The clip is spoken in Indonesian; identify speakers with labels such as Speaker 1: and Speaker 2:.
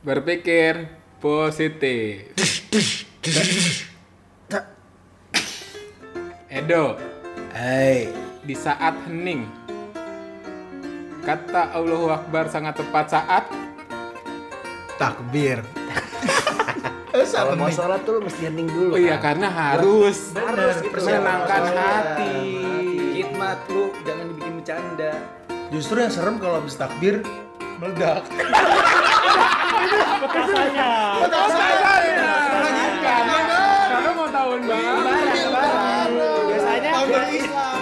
Speaker 1: berpikir positif. Edo,
Speaker 2: Hai,
Speaker 1: di saat hening, kata Allahu Akbar sangat tepat saat.
Speaker 2: takbir.
Speaker 3: Kalau mau sholat tuh lu mesti hening dulu.
Speaker 1: Oh iya
Speaker 3: kan?
Speaker 1: karena harus
Speaker 3: Harus gitu.
Speaker 1: menenangkan
Speaker 3: Harus.
Speaker 1: hati.
Speaker 4: Khidmat lu jangan dibikin bercanda.
Speaker 2: Justru yang serem kalau habis takbir meledak.
Speaker 1: Karena karena mau tahun baru.
Speaker 2: Biasanya Islam.